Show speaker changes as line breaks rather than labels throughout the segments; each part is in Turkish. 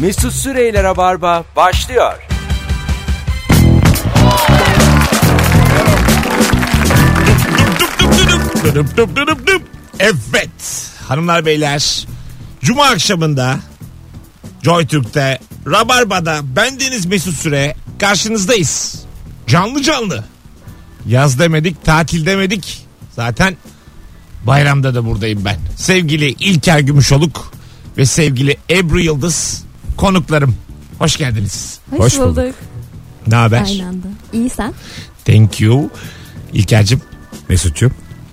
Mesut Süreyler'e barba başlıyor.
Dıdıp dıp dıdıp dıp. Evet hanımlar beyler Cuma akşamında Joy Türk'te Rabarba'da bendeniz Mesut Süre karşınızdayız. Canlı canlı. Yaz demedik tatil demedik. Zaten bayramda da buradayım ben. Sevgili İlker Gümüşoluk ve sevgili Ebru Yıldız konuklarım. Hoş geldiniz.
Hoş,
Hoş
bulduk.
bulduk. şey.
Ne haber?
Aynı anda. İyi sen.
Thank you. İlker'cim
Mesut'cum.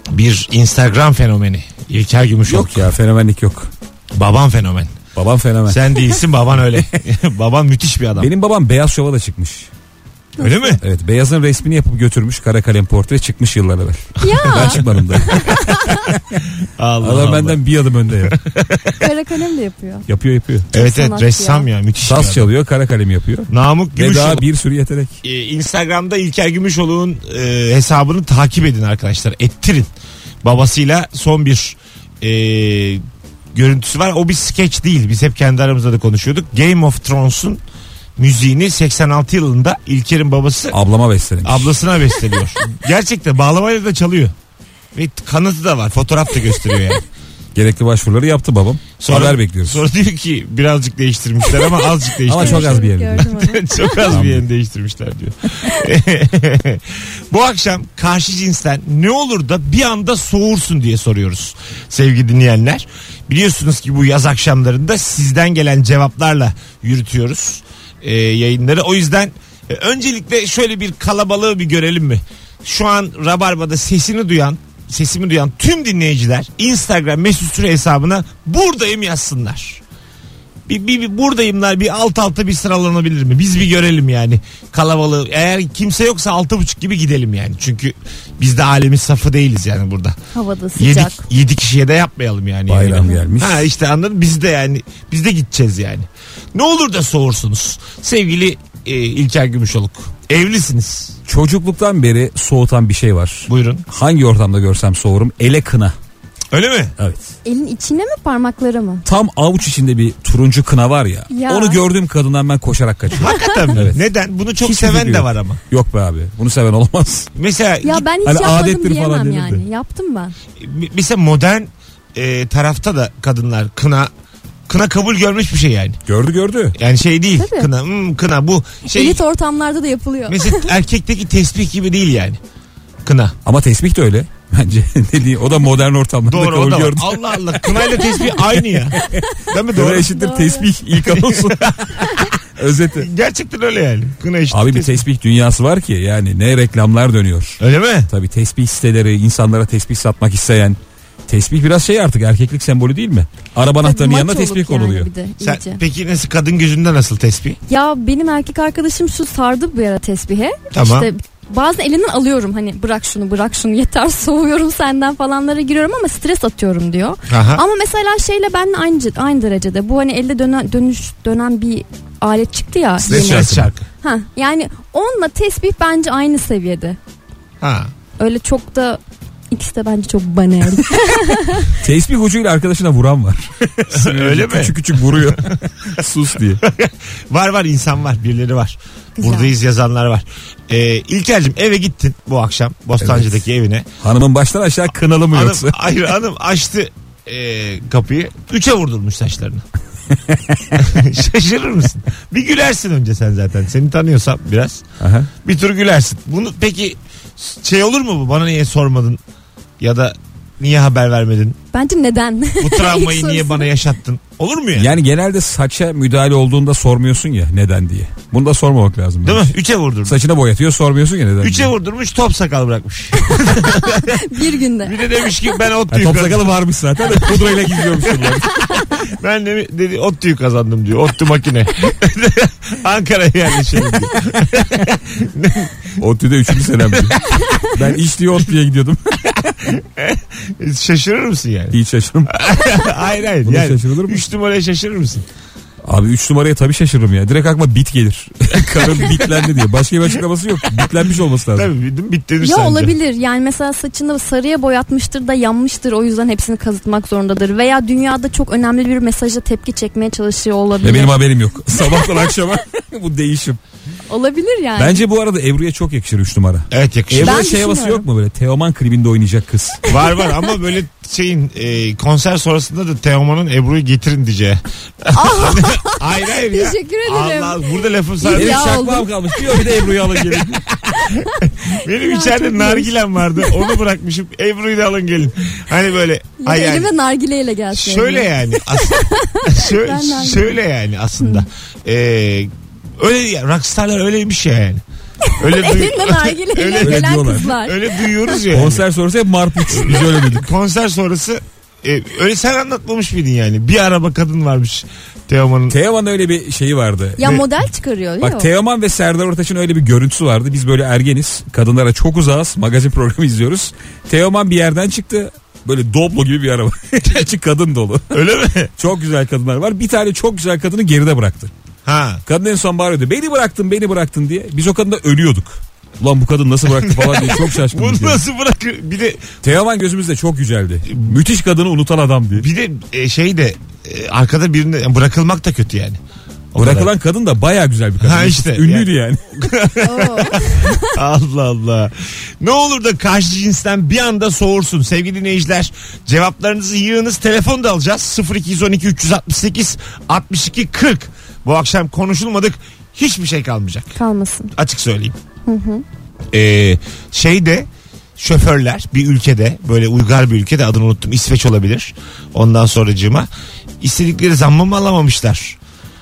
bir Instagram fenomeni. İlker Gümüşoluk.
Yok ya fenomenlik yok.
Babam fenomen.
Babam fenomen.
Sen değilsin baban öyle. baban müthiş bir adam.
Benim babam Beyaz Şov'a da çıkmış.
Öyle mi?
Evet Beyaz'ın resmini yapıp götürmüş kara kalem portre çıkmış yıllar evvel. Ben
Ya
çıkmadım da.
Allah
Adam benden bir adım önde ya.
kara kalem de yapıyor.
Yapıyor yapıyor.
Evet evet
sanatçı
ressam ya, müthiş bir
Saz
adam.
çalıyor kara kalem yapıyor.
Namık
Ve
Gümüşoluk.
daha bir sürü yetenek.
Ee, Instagram'da İlker Gümüşoluk'un e, hesabını takip edin arkadaşlar. Ettirin. Babasıyla son bir e, görüntüsü var. O bir skeç değil. Biz hep kendi aramızda da konuşuyorduk. Game of Thrones'un müziğini 86 yılında İlker'in babası
Ablama beslemiş.
ablasına besteliyor. Gerçekten bağlamayla da çalıyor. Ve kanıtı da var. Fotoğraf da gösteriyor yani.
Gerekli başvuruları yaptı babam. Haber bekliyoruz.
Sonra diyor ki birazcık değiştirmişler ama azıcık
Ama
değiştirmişler.
çok az bir yerinde.
Gördüm onu.
çok az bir yerini değiştirmişler diyor. Bu akşam karşı cinsten ne olur da bir anda soğursun diye soruyoruz sevgili dinleyenler. Biliyorsunuz ki bu yaz akşamlarında sizden gelen cevaplarla yürütüyoruz e, yayınları. O yüzden e, öncelikle şöyle bir kalabalığı bir görelim mi? Şu an Rabarba'da sesini duyan sesimi duyan tüm dinleyiciler Instagram mesut süre hesabına buradayım yazsınlar. Bir, bir, bir buradayımlar bir alt alta bir sıralanabilir mi? Biz bir görelim yani kalabalığı. Eğer kimse yoksa altı buçuk gibi gidelim yani. Çünkü biz de alemin safı değiliz yani burada.
Havada
Yedi,
sıcak.
yedi kişiye de yapmayalım yani.
Bayram
yayını.
gelmiş.
Ha işte anladın biz de yani biz de gideceğiz yani. Ne olur da soğursunuz. Sevgili e, İlker Gümüşoluk. Evlisiniz.
Çocukluktan beri soğutan bir şey var.
Buyurun.
Hangi ortamda görsem soğurum. Ele kına.
Öyle mi?
Evet.
Elin içine mi parmakları mı?
Tam avuç içinde bir turuncu kına var ya.
Ya.
Onu gördüğüm kadından ben koşarak kaçıyorum.
Hakikaten mi?
Evet.
Neden? Bunu çok
Hiçbir
seven
fikri
de
yok.
var ama.
Yok be abi. Bunu seven olmaz.
Mesela
Ya ben hiç
Hani
yapmadım
adettir falan
diyemem
denirdi.
yani. Yaptım ben.
M- mesela modern e, tarafta da kadınlar kına kına kabul görmüş bir şey yani.
Gördü gördü.
Yani şey değil.
Tabii.
Kına hmm, kına bu şey
Elit ortamlarda da yapılıyor.
mesela erkekteki tesbih gibi değil yani. Kına.
Ama tesbih de öyle. Bence dediği o da modern ortamlarda
Doğru o
kabul
da var.
gördü.
Allah Allah. Kınayla tesbih aynı ya. Değil mi?
Doğru
Doğru.
eşittir
Doğru.
tesbih ilk anonsu. Özeti.
Gerçekten öyle yani. Kına işte.
Abi bir
tesbih.
tesbih dünyası var ki yani ne reklamlar dönüyor.
Öyle mi?
Tabii tesbih siteleri insanlara tesbih satmak isteyen. Tesbih biraz şey artık erkeklik sembolü değil mi? Araba anahtarının yanına
Maç olup
tesbih
yani
konuluyor.
bir de
Sen,
iyice.
peki nasıl kadın gözünde nasıl tesbih?
Ya benim erkek arkadaşım şu sardı bu ara tesbihe.
Tamam.
İşte bazen elinden alıyorum hani bırak şunu bırak şunu yeter soğuyorum senden falanlara giriyorum ama stres atıyorum diyor.
Aha.
Ama mesela şeyle ben aynı aynı derecede bu hani elde dönen dönüş dönen bir alet çıktı ya.
Stres
yeni.
şarkı. şarkı.
Ha, yani onunla tesbih bence aynı seviyede.
Ha.
Öyle çok da ikisi de bence çok banal.
Tesbih ucuyla arkadaşına vuran var.
Öyle mi?
Küçük küçük vuruyor. Sus diye.
Var var insan var. Birileri var.
Güzel.
Buradayız yazanlar var. Ee, İlker'cim eve gittin bu akşam. Bostancı'daki evine.
Hanımın baştan aşağı kınalı mı
Hanım,
yoksa?
hayır hanım açtı e, kapıyı. Üçe vurdurmuş saçlarını. Şaşırır mısın? Bir gülersin önce sen zaten. Seni tanıyorsam biraz.
Aha.
Bir tur gülersin. Bunu peki şey olur mu bu? Bana niye sormadın? Ya da niye haber vermedin?
bence neden?
Bu travmayı
İlk
niye
sorusu.
bana yaşattın? Olur mu yani?
Yani genelde saça müdahale olduğunda sormuyorsun ya neden diye. Bunu da sormamak lazım.
Değil mi? Üçe vurdurmuş.
Saçına boyatıyor sormuyorsun ya neden
Üçe
diye.
vurdurmuş top sakal bırakmış.
bir günde.
Bir de demiş ki ben ot
Ha,
tüyü
top
kazandım.
sakalı varmış zaten de pudrayla gidiyormuş yıllar.
Ben de, dedi ot tüyü kazandım diyor. Ot tüyü makine. Ankara'ya yerleşelim diyor.
ODTÜ'de 3. senem diyor. Ben iş diye ODTÜ'ye gidiyordum.
Şaşırır mısın yani?
Hiç şaşırım.
hayır hayır.
Buna
yani
şaşırılır mı?
Üç numaraya şaşırır mısın?
Abi 3 numaraya tabii şaşırırım ya. Direkt aklıma bit gelir. Karın bitlendi diye. Başka bir açıklaması yok. Bitlenmiş olması lazım.
Tabii bittim bitlenir
Ya
sence.
olabilir yani mesela saçını sarıya boyatmıştır da yanmıştır o yüzden hepsini kazıtmak zorundadır. Veya dünyada çok önemli bir mesaja tepki çekmeye çalışıyor olabilir.
Ve benim haberim yok. Sabahtan akşama bu değişim.
Olabilir yani.
Bence bu arada Ebru'ya çok yakışır 3 numara.
Evet yakışır.
Ebru'ya
Ben
şey havası
düşünüyorum.
yok mu böyle? Teoman klibinde oynayacak kız.
Var var ama böyle şeyin e, konser sonrasında da Teoman'ın Ebru'yu getirin diyeceği. hayır hayır ya.
Ah! Teşekkür ederim.
Allah burada lafım sana.
Benim
Ya
şaklağım kalmış. Diyor bir de Ebru'yu alın gelin.
Benim
Ya, çok
içeride
iyi.
nargilem vardı. Onu bırakmışım. Ebru'yu da alın gelin. Hani böyle.
Ya da
Ay, yani.
elime nargileyle gelsin.
Şöyle yani. as- şö-
Ben nargile.
şöyle yani aslında. Ee, öyle ya, rockstarlar öyleymiş ya yani. Öyle duy-
Elinde nargileyle
öyle,
öyle
gelen
diyorlar.
kızlar.
öyle duyuyoruz ya. Yani.
Konser sonrası hep marput. Biz öyle dedik.
Konser sonrası e, öyle sen anlatmamış mıydın yani? Bir araba kadın varmış Teoman'ın.
Teoman öyle bir şeyi vardı.
Ya model çıkarıyor.
Bak Teoman ve Serdar Ortaç'ın öyle bir görüntüsü vardı. Biz böyle ergeniz. Kadınlara çok uzağız. Magazin programı izliyoruz. Teoman bir yerden çıktı. Böyle Doblo gibi bir araba. İçi kadın dolu.
öyle mi?
Çok güzel kadınlar var. Bir tane çok güzel kadını geride bıraktı.
Ha.
Kadın en son bağırıyordu. Beni bıraktın beni bıraktın diye. Biz o kadında ölüyorduk. Ulan bu kadın nasıl bıraktı falan diye çok
Bunu
şaşkındık. yani.
nasıl bırakır? Bir de
Teoman gözümüzde çok güzeldi. Müthiş kadını unutan adam diye.
bir de e, şey de e, arkada birine bırakılmak da kötü yani. O kadar.
Bırakılan kadın da baya güzel bir kadın.
Ha işte.
Ünlüydü yani.
Oo.
Allah Allah. Ne olur da karşı cinsten bir anda soğursun sevgili dinleyiciler. Cevaplarınızı yığınız telefon da alacağız. 0212 368 62 40. Bu akşam konuşulmadık hiçbir şey kalmayacak.
Kalmasın.
Açık söyleyeyim. Ee, şeyde şoförler bir ülkede böyle uygar bir ülkede adını unuttum İsveç olabilir. Ondan sonracığıma istedikleri zammı mı alamamışlar?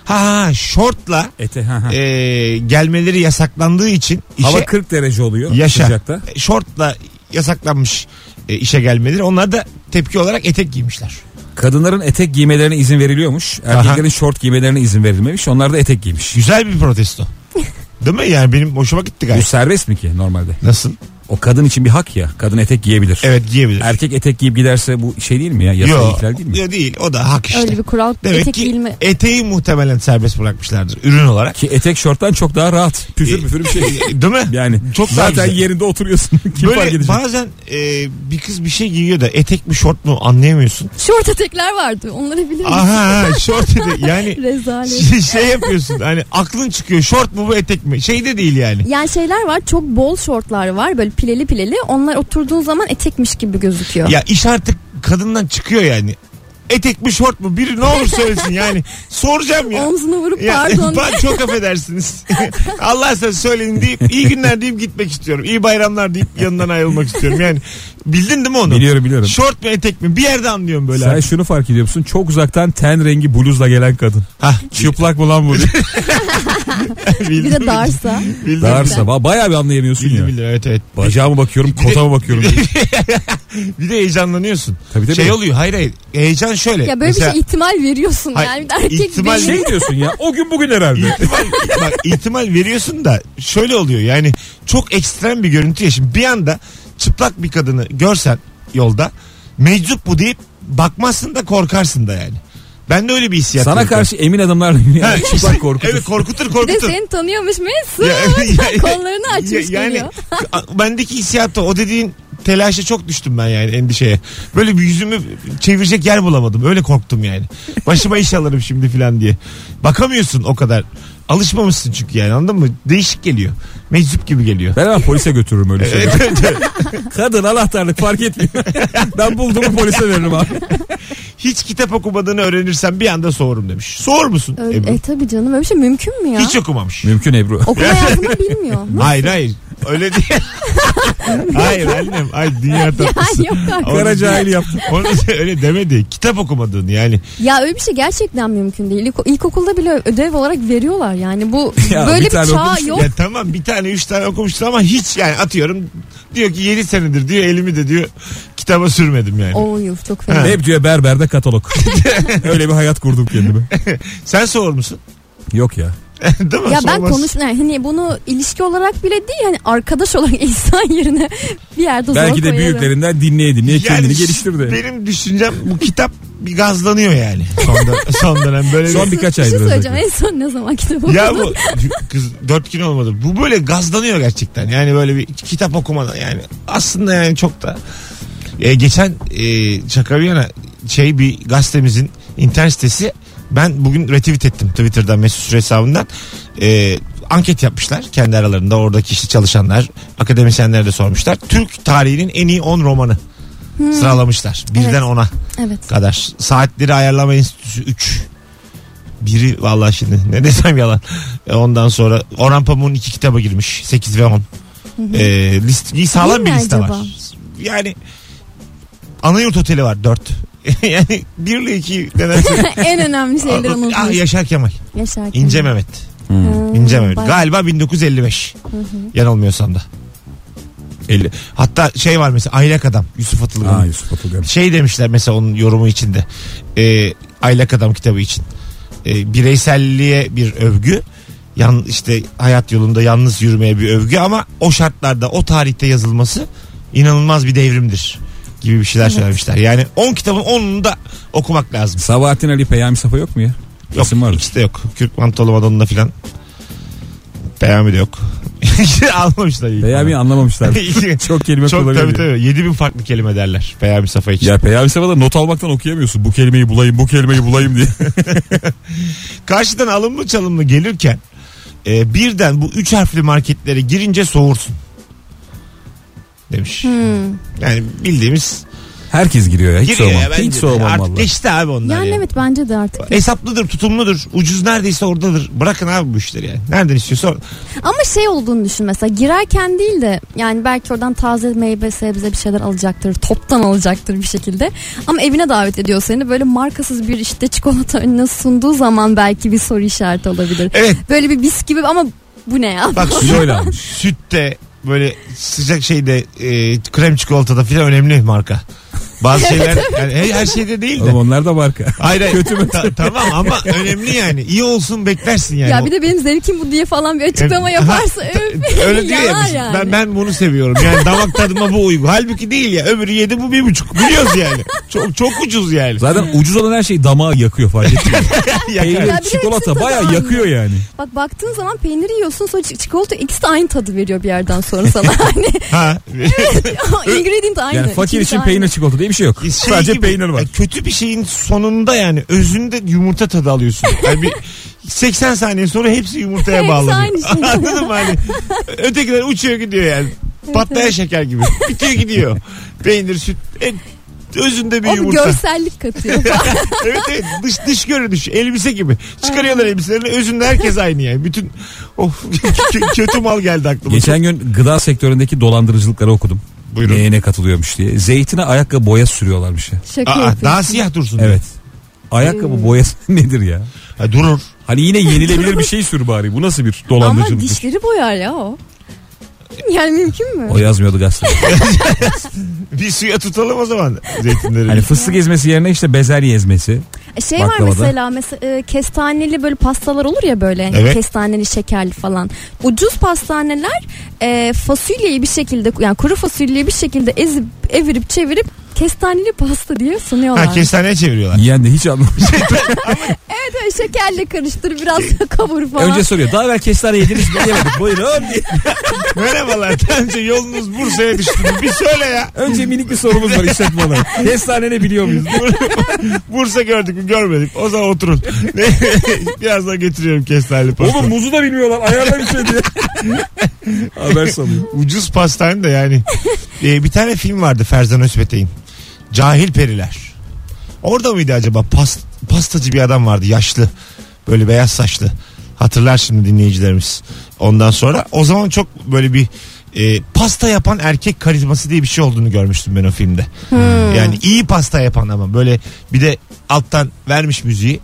Ha, ha şortla
Ete ha ha.
e, gelmeleri yasaklandığı için
Hava
işe-
40 derece oluyor
Yaşa.
sıcakta.
E, Şortla yasaklanmış e, işe gelmeleri. Onlar da tepki olarak etek giymişler.
Kadınların etek giymelerine izin veriliyormuş. Erkeklerin şort giymelerine izin verilmemiş. Onlar da etek giymiş.
Güzel bir protesto. Değil mi? Yani benim hoşuma gitti
Bu
gayet.
serbest mi ki normalde?
Nasıl?
O kadın için bir hak ya. Kadın etek giyebilir.
Evet giyebilir.
Erkek etek giyip giderse bu şey değil mi ya? Yasal
Yo,
ihlal değil mi?
yo değil. O da hak işte.
Öyle bir kural.
Demek
etek
ki
giyilme.
eteği muhtemelen serbest bırakmışlardır ürün olarak.
Ki etek şorttan çok daha rahat. Püfür
E,
püfür bir şey.
E, Değil mi?
Yani
Çok daha
zaten
güzel.
yerinde oturuyorsun. Kim fark
Böyle
edecek?
bazen e, bir kız bir şey giyiyor da etek mi şort mu anlayamıyorsun.
Şort etekler vardı. Onları bilir misin?
Aha ha, şort dedi. Yani
Rezalet.
şey, şey yapıyorsun hani aklın çıkıyor şort mu bu etek mi? Şey de değil yani.
Yani şeyler var çok bol şortlar var böyle pileli pileli onlar oturduğun zaman etekmiş gibi gözüküyor.
Ya iş artık kadından çıkıyor yani. Etek mi şort mu biri ne olur söylesin yani. Soracağım ya.
Omzuna vurup
Ya,
pardon.
ben çok affedersiniz. Allah size söyleyin deyip iyi günler deyip gitmek istiyorum. İyi bayramlar deyip yanından ayrılmak istiyorum. Yani bildin değil mi onu?
Biliyorum biliyorum.
Şort mu etek mi bir yerde anlıyorum böyle.
Sen
abi.
şunu fark ediyor musun? Çok uzaktan ten rengi bluzla gelen kadın.
Hah,
Çıplak mı lan bu?
bildin
bir de
mi?
darsa.
Bildin.
Darsa ba- bayağı bir anlayamıyorsun
Bildim
ya.
bildim evet evet.
Bacağıma bakıyorum, kotama bakıyorum.
Bir de heyecanlanıyorsun.
Tabii, tabii.
Şey oluyor hayır hayır. Heyecan şöyle.
Ya böyle bir
Mesela-
şey ihtimal veriyorsun
Hayır,
yani bir de erkek
ihtimal
beni-
şey diyorsun ya. O gün bugün herhalde.
İhtimal, bak, ihtimal veriyorsun da şöyle oluyor yani çok ekstrem bir görüntü ya şimdi bir anda çıplak bir kadını görsen yolda meczup bu deyip bakmazsın da korkarsın da yani. Ben de öyle bir hissiyat.
Sana
yaratıyor.
karşı emin adamlarla bir
Ha,
yani çıplak korkutur.
Evet korkutur
Bir de
korkutur.
seni tanıyormuş Mesut.
Ya, ya,
Kollarını açmış
ya- yani
geliyor.
a- bendeki hissiyat da o dediğin telaşa çok düştüm ben yani endişeye. Böyle bir yüzümü çevirecek yer bulamadım. Öyle korktum yani. Başıma iş alırım şimdi falan diye. Bakamıyorsun o kadar. Alışmamışsın çünkü yani anladın mı? Değişik geliyor. Meczup gibi geliyor.
Ben hemen polise götürürüm öyle şeyleri.
Evet, evet, evet.
Kadın anahtarlık fark etmiyor. ben bulduğumu polise veririm abi.
Hiç kitap okumadığını öğrenirsem bir anda soğurum demiş. Soğur musun?
Öyle-
Ebru?
e tabi canım öyle bir şey mümkün mü ya?
Hiç okumamış.
Mümkün Ebru.
Okuma yazma bilmiyor.
Hayır hayır. Öyle değil. hayır annem. Ay dünya tatlısı.
yani yok artık.
Kara cahil yaptı.
Onu öyle demedi. Kitap okumadığını yani.
Ya öyle bir şey gerçekten mümkün değil. İlk, ilkokulda bile ödev olarak veriyorlar yani bu
Ya bir
böyle bir,
tane
çağ
okumuşsun
yok.
Ya tamam bir tane üç tane okumuşsun ama hiç yani atıyorum diyor ki 7 senedir diyor elimi de diyor kitaba sürmedim yani.
O yıl çok fena.
Hep diyor berberde katalog. öyle bir hayat kurdum kendime.
Sen soğur musun?
Yok ya.
Değil mi?
Ya ben
Sormaz.
konuş yani hani bunu ilişki olarak bile değil hani arkadaş olarak insan yerine bir yerde zor
Belki de
koyarım.
büyüklerinden dinleye dinleye kendini
ş-
geliştirdi.
Benim düşüncem bu kitap bir gazlanıyor yani. Son, dön- son dönem böyle
Son
bir-
birkaç
Bir
aydır
şey söyleyeceğim
özellikle.
en son ne zaman kitabı
Ya
okudun?
bu kız dört gün olmadı. Bu böyle gazlanıyor gerçekten. Yani böyle bir kitap okumadan yani. Aslında yani çok da E, geçen e, şaka bir yana şey bir gazetemizin internet sitesi ben bugün retweet ettim Twitter'dan Mesut Süre hesabından. E, anket yapmışlar kendi aralarında oradaki işte çalışanlar akademisyenlere de sormuşlar. Türk tarihinin en iyi 10 romanı sıralamışlar. Birden
Evet.
ona
Evet.
kadar. Saatleri Ayarlama Enstitüsü 3. Biri vallahi şimdi ne desem yalan. E, ondan sonra Orhan Pamuk'un iki kitabı girmiş. 8 ve 10. E, list, iyi sağlam
Değil
bir
mi
liste
acaba?
var. Yani Anayurt Oteli var 4. yani 1 ile 2 nedense.
en önemli şeyler unutmuş.
ah, Yaşar Kemal.
Yaşar Kemal.
İnce Mehmet.
Ha,
İnce Mehmet.
bak-
Galiba 1955. Yanılmıyorsam da. 50. Hatta şey var mesela Aylak Adam. Yusuf Atılgan'ın.
Aa, Yusuf Atılgan.
Şey demişler mesela onun yorumu içinde. E, Aylak Adam kitabı için. E, bireyselliğe bir övgü. Yan, işte hayat yolunda yalnız yürümeye bir övgü ama o şartlarda o tarihte yazılması inanılmaz bir devrimdir gibi bir şeyler söylemişler. Yani 10 kitabın 10'unu da okumak lazım.
Sabahattin Ali Peyami Safa yok mu ya?
Yok
İsim var mı?
ikisi de yok. Kürt Mantolu Madonna filan. Peyami de yok. Almamışlar iyi.
Peyami anlamamışlar.
İyi.
Çok kelime
Çok
kullanıyor.
tabii
diye.
tabii. 7000 farklı kelime derler Peyami Safa için.
Ya Peyami Safa'da not almaktan okuyamıyorsun. Bu kelimeyi bulayım, bu kelimeyi bulayım diye.
Karşıdan alımlı çalımlı gelirken e, birden bu üç harfli marketlere girince soğursun. Demiş.
Hmm.
Yani bildiğimiz
Herkes giriyor ya. Hiç
giriyor
sormam.
ya bence
Hiç
de.
sormam
Artık
valla.
geçti abi onlar.
Yani
yani.
evet bence de artık.
Hesaplıdır, tutumludur. Ucuz neredeyse oradadır. Bırakın abi bu işleri yani. Nereden istiyorsa or-
Ama şey olduğunu düşün mesela girerken değil de yani belki oradan taze meyve sebze bir şeyler alacaktır. Toptan alacaktır bir şekilde. Ama evine davet ediyor seni böyle markasız bir işte çikolata önüne sunduğu zaman belki bir soru işareti olabilir.
Evet.
Böyle bir bis gibi ama bu ne ya?
Bak süt,
Kiloyla almış.
sütte böyle sıcak şeyde e, krem çikolatada filan önemli marka. Bazı şeyler yani her, her şeyde değil de.
Oğlum onlar da marka.
Hayır, hayır. Ta- tamam ama önemli yani. İyi olsun beklersin yani.
ya bir de benim zevkim bu diye falan bir açıklama
Ha,
yaparsa
E, Ta- Öyle diyor ya
yanar
biz.
yani.
Ben, ben bunu seviyorum. Yani damak tadıma bu uygun. Halbuki değil ya. Öbürü yedi bu bir buçuk. Biliyoruz yani. Çok çok ucuz yani.
Zaten ucuz olan her şey damağı yakıyor fark ettin mi?
Yakar.
Peynir,
Ya bir de hepsini
çikolata
tadı
baya
aynı.
yakıyor yani.
Bak baktığın zaman peyniri yiyorsun sonra çi- çikolata ikisi de aynı tadı veriyor bir yerden sonra sana. Hani
Ha.
ingredient aynı.
Yani fakir
ikisi
için
aynı.
peynir çikolata diye bir şey yok.
Şey
Sadece
gibi,
peynir var.
yani Kötü bir şeyin sonunda yani özünde yumurta tadı alıyorsun. Yani bir 80 saniye sonra hepsi yumurtaya
Hepsi
bağlanıyor.
aynı şey.
Anladın mı hani? Ötekiler uçuyor gidiyor yani. Patlayan şeker gibi. Bitiyor gidiyor. Peynir, süt, et, özünde bir
O bir
yumurta.
görsellik katıyor.
evet evet dış dış görünüş elbise gibi. Çıkarıyorlar elbiselerini özünde herkes aynı yani. Bütün of kö- kötü mal geldi aklıma.
Geçen gün gıda sektöründeki dolandırıcılıkları okudum.
Buyurun.
Neye ne katılıyormuş diye. Zeytine ayakkabı boya sürüyorlarmış ya.
Şaka
Aa,
yapıyorsun.
daha siyah dursun.
Evet. Ayakkabı boyası nedir ya?
Ha, durur.
Hani yine yenilebilir bir şey sür bari. Bu nasıl bir
Ama
dolandırıcılık?
dişleri boyar ya o. Yani mümkün mü?
O yazmıyordu gazetede.
Bir suya tutalım o zaman zeytinleri.
hani fıstık ezmesi yerine işte bezelye ezmesi.
Şey
Baklavada.
var mesela, mesela e, kestaneli böyle pastalar olur ya böyle hani
Evet.
kestaneli şekerli falan. Ucuz pastaneler e, fasulyeyi bir şekilde yani kuru fasulyeyi bir şekilde ezip evirip çevirip kestaneli pasta diye sunuyorlar.
ha kestaneye çeviriyorlar.
Yiyen de hiç anlamamış.
Böyle şekerle karıştır biraz
Şey,
da kavur falan.
Önce soruyor. Daha evvel kestane yediniz mi? Yemedik. Buyurun. diye.
Merhabalar. Daha önce yolunuz Bursa'ya düştü. mü? Bir söyle ya.
Önce minik bir sorumuz var işletme olarak. Kestane ne biliyor muyuz?
Bursa gördük mü görmedik. O zaman oturun. Ne? Birazdan getiriyorum kestaneli pasta.
Oğlum muzu da bilmiyorlar. Ayarla bir şey diye. Haber sanıyor.
Ucuz pastane de yani. Ee, bir tane film vardı Ferzan Özpetek'in. Cahil Periler. Orada mıydı acaba? Pas- pastacı bir adam vardı yaşlı. Böyle beyaz saçlı. Hatırlar şimdi dinleyicilerimiz. Ondan sonra o zaman çok böyle bir e, pasta yapan erkek karizması diye bir şey olduğunu görmüştüm ben o filmde. Yani iyi pasta yapan ama böyle bir de alttan vermiş müziği.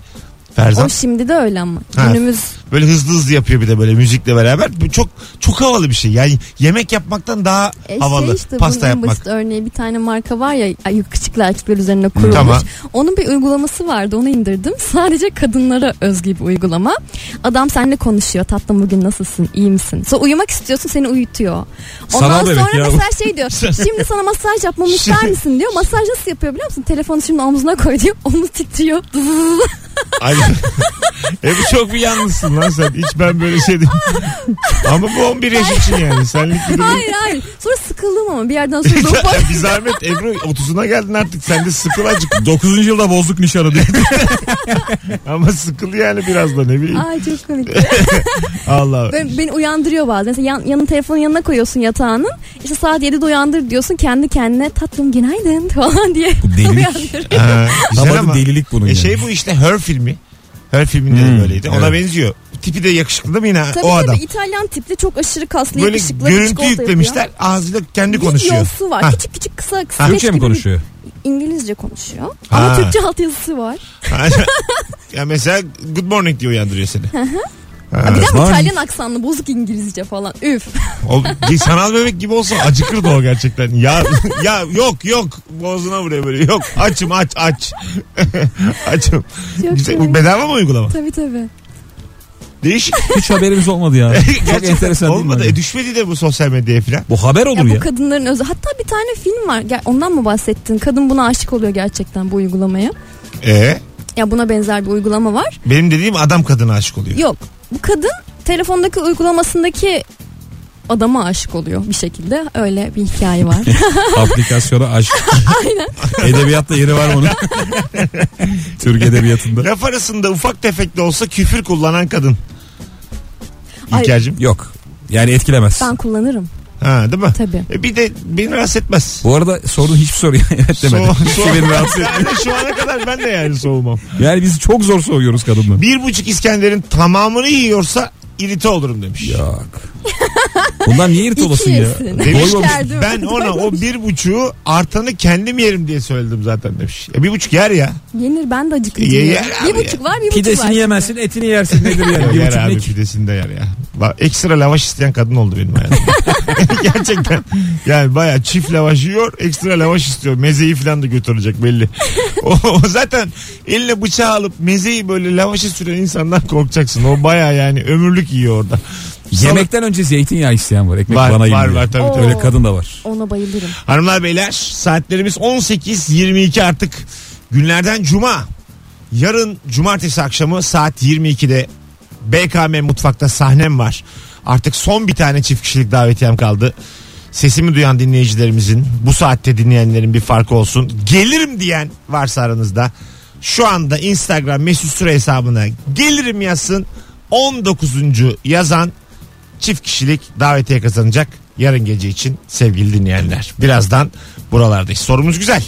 Ferzan.
O şimdi de öyle ama.
Ha.
Günümüz
Böyle hızlı hızlı yapıyor bir de böyle müzikle beraber. Bu çok çok havalı bir şey. Yani yemek yapmaktan daha
E,
havalı.
şey işte
Pasta
bunun en
yapmak.
basit örneği bir tane marka var ya ay, küçükler erkekler üzerine kurulmuş.
Tamam.
Onun bir uygulaması vardı onu indirdim. Sadece kadınlara özgü bir uygulama. Adam seninle konuşuyor. Tatlım bugün nasılsın? iyi misin? Sonra uyumak istiyorsun seni uyutuyor. Ondan
Sanal bebek
sonra
ya bu.
mesela şey diyor. Şimdi sana masaj yapmamı ister misin diyor. Masaj nasıl yapıyor biliyor musun? Telefonu şimdi omzuna koy diyor. Omuz titriyor.
Aynen. e bu çok bir yalnızsın lan sen. Hiç ben böyle şey değilim. Ama bu 11 yaş için yani. Senlik bir durum.
hayır hayır. Sonra sıkıldım ama bir yerden sonra doğru bak-
bir zahmet Ebru 30'una geldin artık. Sen de sıkıl acık.
9. yılda bozduk nişanı diye.
Ama sıkıl yani biraz da ne bileyim.
Ay çok komik.
Allah.
Ben, beni uyandırıyor bazen. Mesela yan, yanın telefonun yanına koyuyorsun yatağının. İşte saat 7'de uyandır diyorsun. Kendi kendine tatlım günaydın falan diye
Bu delilik.
uyandırıyor.
Ha, güzel
Ama
ama.
da delilik bunun.
E
yani.
şey bu işte Her filmi. Her filminde de
Hmm,
böyleydi. Ona
evet.
benziyor. Tipi de yakışıklı değil mi yine
Tabii
o
tabii
adam?
İtalyan tipli çok aşırı kaslı
Böyle
yakışıklı
görüntü
çikolata yapıyor.
yüklemişler. Ağzıyla kendi
Bir
konuşuyor.
yosu var.
Ha.
Küçük küçük kısa kısa.
Türkçe mi konuşuyor?
İngilizce konuşuyor.
Ha.
Ama Türkçe altyazısı var.
ya mesela good morning diye uyandırıyor seni.
Bir de
var.
İtalyan aksanlı bozuk İngilizce falan. Üf.
O bir sanal bebek gibi olsa acıkırdı o gerçekten. Ya ya yok yok boğazına vuruyor böyle. Yok açım aç aç. açım.
Yok
Güzel,
yani.
bu bedava mı uygulama?
Tabii tabii.
Değişik.
Hiç haberimiz olmadı ya. Çok
Gerçekten
enteresan değil mi?
Olmadı. E,
acaba?
düşmedi de bu sosyal medyaya falan.
Bu haber olur
Ya
ya.
bu kadınların özü. Hatta bir tane film var. Gel- Ondan mı bahsettin? Kadın buna aşık oluyor gerçekten bu uygulamaya.
E,
Ya buna benzer bir uygulama var.
benim dediğim adam kadına aşık oluyor.
Yok. Bu kadın telefondaki uygulamasındaki adama aşık oluyor bir şekilde. Öyle bir hikaye var.
Aplikasyona aşk. Aynen. Edebiyatta yeri var onun. Türk edebiyatında.
Laf arasında ufak tefek de olsa küfür kullanan kadın.
Ay.
İlker'cim.
Yok. Yani etkilemez.
ben kullanırım
Ha değil mi?
tabii.
E, bir de beni rahatsız etmez.
Bu arada sorduğun hiçbir soruya evet demedi.
Soğ-
Hiçbir beni rahatsız etmedi.
Yani şu ana kadar ben de yani soğumam.
Yani biz çok zor soğuyoruz kadınla.
Bir buçuk İskender'in tamamını yiyorsa irite olurum demiş.
Yok. Bundan niye irt olasın ya?
İkisin.
Demiş
Doymamış.
Geldi mi?
ben ona o bir buçuğu artanı kendim yerim diye söyledim zaten demiş. Ya bir buçuk yer ya.
Yenir ben de acıkınca.
Ye-
yerim.
yer abi
bir buçuk var bir buçuk var.
Pidesini yemezsin etini yersin nedir yani? Bir
yer
buçuk
abi
ne ki?
pidesinde yer ya. Bak, ekstra lavaş isteyen kadın oldu benim hayatımda. Gerçekten. Yani baya çift lavaş yiyor ekstra lavaş istiyor. Mezeyi falan da götürecek belli. O, o zaten eline bıçağı alıp mezeyi böyle lavaşı süren insandan korkacaksın. O baya yani ömürlük yiyor orada.
Yemekten önce zeytinyağı isteyen var. Ekmek
Var,
bana
var,
yiyor.
var, tabii,
Oo. tabii.
Öyle kadın da var.
Ona bayılırım.
Hanımlar beyler saatlerimiz 18.22 artık günlerden cuma. Yarın cumartesi akşamı saat 22'de BKM mutfakta sahnem var. Artık son bir tane çift kişilik davetiyem kaldı. Sesimi duyan dinleyicilerimizin bu saatte dinleyenlerin bir farkı olsun. Gelirim diyen varsa aranızda şu anda Instagram mesut süre hesabına gelirim yazsın. 19. yazan çift kişilik davetiye kazanacak yarın gece için sevgili dinleyenler. Birazdan buralardayız. Sorumuz güzel.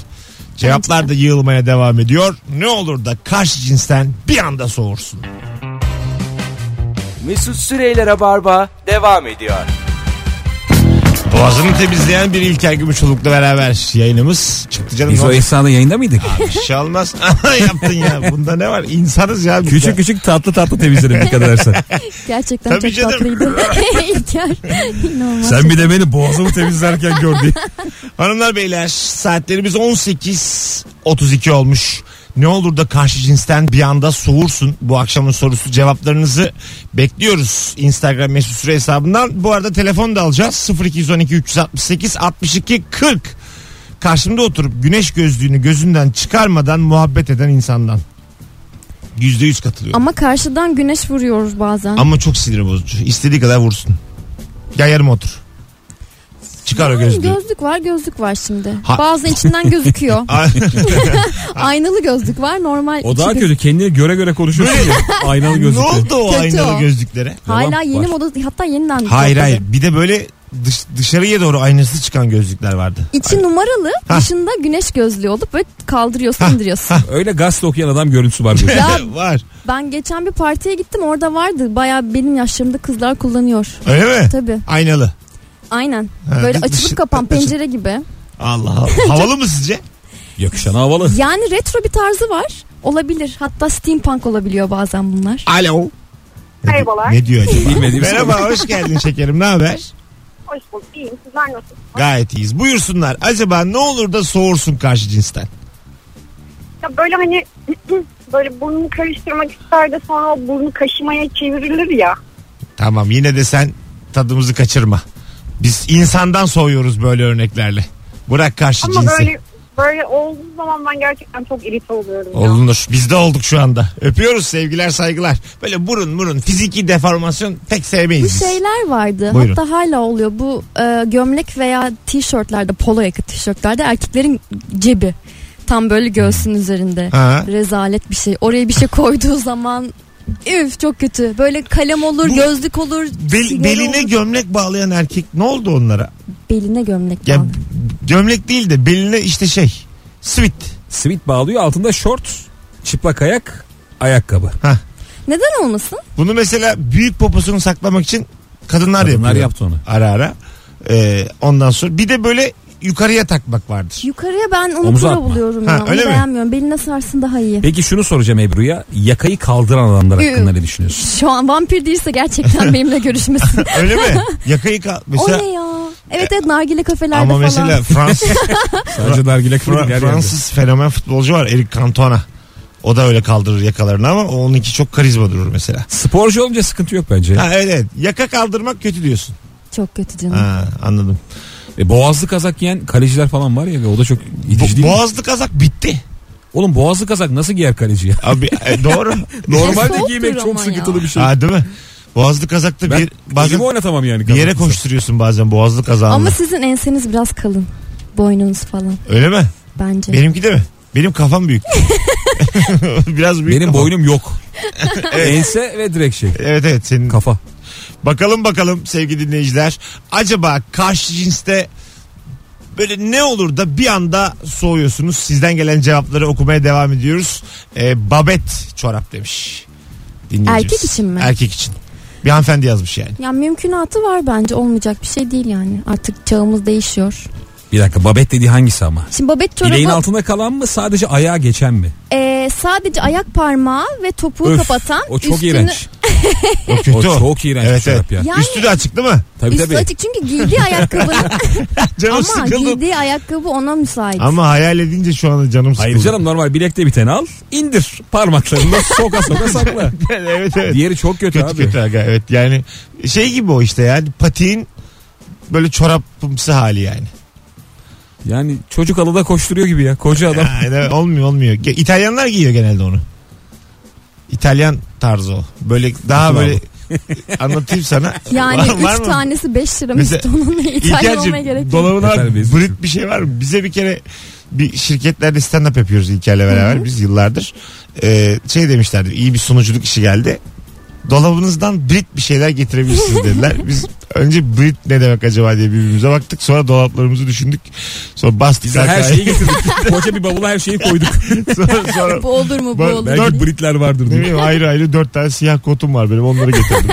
Cevaplar da yığılmaya devam ediyor. Ne olur da karşı cinsten bir anda soğursun.
Mesut Süreyler'e barba devam ediyor.
Boğazını temizleyen bir İlker Gümüşoluk'la beraber yayınımız çıktı canım.
Biz
Ne
o
oldu?
esnada yayında mıydık?
Bir şey olmaz. Aha, yaptın ya. Bunda ne var? İnsanız ya. biz de.
küçük küçük tatlı tatlı temizlerim dikkat edersen.
Gerçekten
Tabii
çok
canım.
tatlıydı. İlker. İnanılmaz.
Sen bir de beni boğazımı temizlerken gördün.
Hanımlar beyler saatlerimiz 18.32 olmuş. Ne olur da karşı cinsten bir anda soğursun. Bu akşamın sorusu cevaplarınızı bekliyoruz. Instagram mesut süre hesabından. Bu arada telefon da alacağız. 0212 368 62 40. Karşımda oturup güneş gözlüğünü gözünden çıkarmadan muhabbet eden insandan. %100 katılıyorum.
Ama karşıdan güneş vuruyor bazen.
Ama çok sinir bozucu. İstediği kadar vursun. Ya yarım otur. Çıkar o
Yani
gözlüğü.
gözlük var gözlük var şimdi.
Ha.
Bazı içinden gözüküyor. Aynalı gözlük var normal.
O daha
içi-
kötü kendini göre göre konuşuyorsun ya. Aynalı
ne
gözüküyor.
oldu o
Kötü
aynalı
o.
gözlüklere?
Hala
Yalan
yeni
var.
moda hatta yeniden.
Hayır
yapıldı.
hayır. Bir de böyle dış- dışarıya doğru aynası çıkan gözlükler vardı.
İçi numaralı
Ha.
dışında güneş gözlüğü olup böyle kaldırıyorsun indiriyorsun.
Öyle gazete okuyan adam görüntüsü var. böyle.
Ya
var.
ben geçen bir partiye gittim orada vardı baya benim yaşlarımda kızlar kullanıyor.
Öyle mi?
Tabi
Aynalı.
aynen
Ha,
böyle
dış-
açılıp kapan
dış-
pencere gibi.
Allah Allah. Havalı mı sizce?
Yakışan havalı.
Yani retro bir tarzı var Olabilir. Hatta steampunk olabiliyor bazen bunlar.
Alo. Ne-
Merhabalar.
Ne diyor acaba?
Bilmediğim
Merhaba hoş geldin şekerim ne haber?
Hoş bulduk. İyiyim. Sizler nasılsınız?
Gayet iyiyiz. Buyursunlar. Acaba ne olur da soğursun karşı cinsten?
Ya böyle hani böyle burnunu karıştırmak ister de sonra o burnu kaşımaya çevrilir ya.
Tamam yine de sen tadımızı kaçırma. Biz insandan soğuyoruz böyle örneklerle. Bırak karşı
Ama
cinsi.
böyle böyle olduğu zaman ben gerçekten çok irite oluyorum ya.
Olunur. Biz de olduk şu anda. Öpüyoruz sevgiler saygılar. Böyle burun murun fiziki deformasyon pek sevmeyiz
Bu şey-
biz.
şeyler vardı.
Buyurun.
Hatta hala oluyor. Bu e, gömlek veya tişörtlerde, polo yaka tişörtlerde erkeklerin cebi. Tam böyle göğsün üzerinde.
Hmm. Ha.
Rezalet bir şey. Oraya bir şey koyduğu zaman üf çok kötü. Böyle kalem olur,
Bu-
gözlük olur,
Bel-
sigara
beline
olur.
gömlek bağlayan erkek ne oldu onlara?
beline gömlek
Ya
bağlı.
gömlek değil de beline işte şey. Sweet.
Sivit bağlıyor altında şort, çıplak ayak, ayakkabı.
Neden olmasın?
Bunu mesela büyük poposunu saklamak için kadınlar,
Kadınlar
yapıyor.
yaptı onu.
Ara ara. Ee, ondan sonra bir de böyle yukarıya takmak vardır.
Yukarıya ben onu
Omuza
kura
atma.
buluyorum
Ha,
ya. Onu
öyle mi?
beğenmiyorum. Beline sarsın daha iyi.
Peki şunu soracağım Ebru'ya. Yakayı kaldıran adamlar hakkında ne düşünüyorsun?
Şu an vampir değilse gerçekten benimle görüşmesin.
Öyle mi? Yakayı kal... Mesela...
o ne ya? Evet evet nargile kafelerde
Ama
falan.
mesela Fransız,
Sadece nargile
Fra-
kuru
Fransız fenomen futbolcu var Eric Cantona. O da öyle kaldırır yakalarını ama onunki çok karizma durur mesela.
Sporcu olunca sıkıntı yok bence.
Ha evet, evet. Yaka kaldırmak kötü diyorsun.
Çok kötü canım.
Ha anladım.
E, boğazlı kazak giyen kaleciler falan var ya o da çok itici
Bo-
değil mi?
boğazlı kazak bitti.
Oğlum boğazlı kazak nasıl giyer kaleci ya?
Abi e, doğru.
Normalde
Soğuktur
giymek çok
ama
sıkıntılı
ya.
bir şey.
ha değil mi? Boğazlı kazakta
ben
bir bazen
elimi oynatamam yani.
bir yere
kazakla.
koşturuyorsun bazen boğazlı kazağınla.
Ama sizin enseniz biraz kalın. Boynunuz falan
Öyle mi?
bence.
Benimki de mi? Benim kafam büyük. Biraz büyük.
Benim
kafam.
boynum yok. Ense ve direkt şey.
Evet evet senin
Kafa.
Bakalım bakalım sevgili dinleyiciler. Acaba karşı cinste böyle ne olur da bir anda soğuyorsunuz. Sizden gelen cevapları okumaya devam ediyoruz. Ee, babet çorap demiş. Dinleyicimiz.
Erkek için mi?
Erkek için. Bir hanımefendi yazmış yani.
Ya mümkünatı var bence olmayacak bir şey değil yani. Artık çağımız değişiyor.
Bir dakika babet dediği hangisi ama?
Şimdi babet
Bileğin
çorabı
altında kalan mı sadece ayağa geçen mi?
e, sadece ayak parmağı ve topuğu
Öf,
kapatan
o çok
üstünü,
iğrenç.
O kötü
O
o.
çok iğrenç
Evet,
bir çorap ya.
Yani-
Üstü de açık değil mi?
Tabii
Üstü
tabii.
açık çünkü giydiği ayakkabının
Canım
ama
sıkıldı.
giydiği ayakkabı ona müsait.
Ama hayal edince şu anda canım sıkıldı.
Hayır canım normal bilekte biteni al indir parmaklarında soka soka sakla.
evet evet.
Diğeri çok kötü,
kötü
abi.
kötü aga evet yani şey gibi o işte yani patiğin böyle çorapımsı hali yani.
Yani çocuk alıda koşturuyor gibi ya koca adam.
Yani olmuyor olmuyor. Ge- İtalyanlar giyiyor genelde onu. İtalyan tarzı o. Böyle daha
Nasıl
böyle anlatayım sana.
Yani
Var- var
üç
mı?
tanesi 5 lira
Mesela-
Mesut onun İtalyan olmaya gerek
İlker'cim
yok.
dolabına
Yeter bizim
Brit bir şey var mı? Bize bir kere bir şirketlerde stand up yapıyoruz İlker'le beraber biz yıllardır. Ee, şey demişlerdi iyi bir sunuculuk işi geldi. Dolabınızdan Brit bir şeyler getirebilirsiniz dediler. Biz önce Brit ne demek acaba diye birbirimize baktık. Sonra dolaplarımızı düşündük. Sonra bastık.
Biz de her
arkaya.
şeyi getirdik. koca bir bavula her şeyi koyduk.
sonra, sonra
Bu olur mu bu
Ben-
olur
ben-
mu?
Belki Britler vardır
Ne
diye.
bileyim ayrı ayrı dört tane siyah kotum var benim onları getirdim.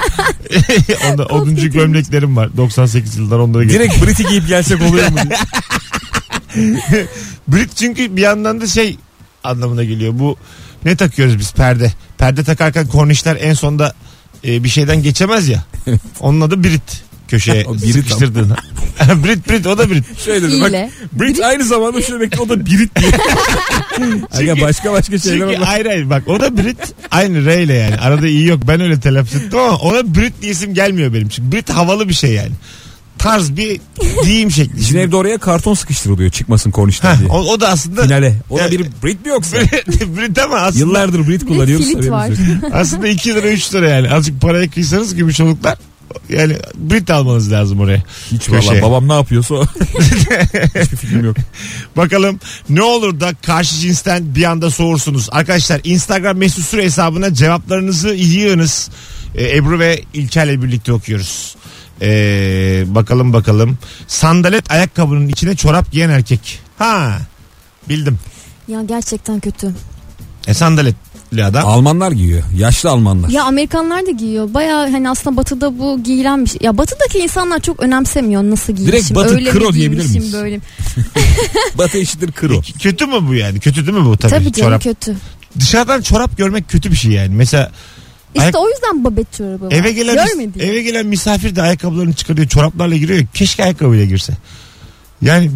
Onda, oduncu
kötüymüş.
gömleklerim var 98 yıldan onları getirdim.
Direkt Brit'i giyip gelsek oluyor mu? diye.
Brit çünkü bir yandan da şey anlamına geliyor bu ne takıyoruz biz perde. Perde takarken kornişler en sonda e, bir şeyden geçemez ya. Onun adı Brit köşeye
O Brit
sıkıştırdığın. Brit Brit o da Brit.
Şöyle dedim bak.
İyle.
Brit aynı zamanda şöyle bekle o da Brit diye. Aga başka başka şeyler
Çünkü
var.
ayrı ayrı bak o da Brit aynı R ile yani arada iyi yok ben öyle telaffuz ettim ama ona Brit diye isim gelmiyor benim çünkü Brit havalı bir şey yani tarz bir giyim şekli.
Bizim evde oraya karton sıkıştırılıyor çıkmasın kornişten diye.
o, o da aslında
Finale. O da
Yani-
bir Brit mi yoksa?
Brit ama aslında,
Yıllardır Brit kullanıyoruz.
kilit
haberimiz
var.
yok.
aslında 2 lira 3 lira yani azıcık paraya kıysanız gümüş oluklar yani Brit almanız lazım oraya.
Hiç
Köşeye.
valla babam ne yapıyorsa o. Hiçbir fikrim yok.
Bakalım ne olur da karşı cinsten bir anda soğursunuz. Arkadaşlar Instagram mesut süre hesabına cevaplarınızı yığınız. Ee, Ebru ve İlker'le birlikte okuyoruz. Ee, bakalım bakalım. Sandalet ayakkabının içine çorap giyen erkek. Ha bildim.
Ya gerçekten kötü.
E, sandaletli adam.
Almanlar giyiyor. Yaşlı Almanlar.
Ya Amerikanlar da giyiyor. Baya hani aslında batıda bu giyilen bir şey. Ya batıdaki insanlar çok önemsemiyor nasıl giymişim.
Direkt batı
öyle mi
kro diyebilir
giymişim,
miyiz?
Böyle. mi?
Batı eşittir kro.
Kötü mü bu yani? Kötü değil mi bu tabii?
Tabii canım
çorap
kötü.
dışarıdan çorap görmek kötü bir şey yani. Mesela
İşte
Ayak-
o yüzden babet çorabı var.
eve gelen mis-
e-
Görmedi.
eve gelen misafir de ayakkabılarını çıkarıyor, çoraplarla giriyor. Keşke ayakkabıyla girse. Yani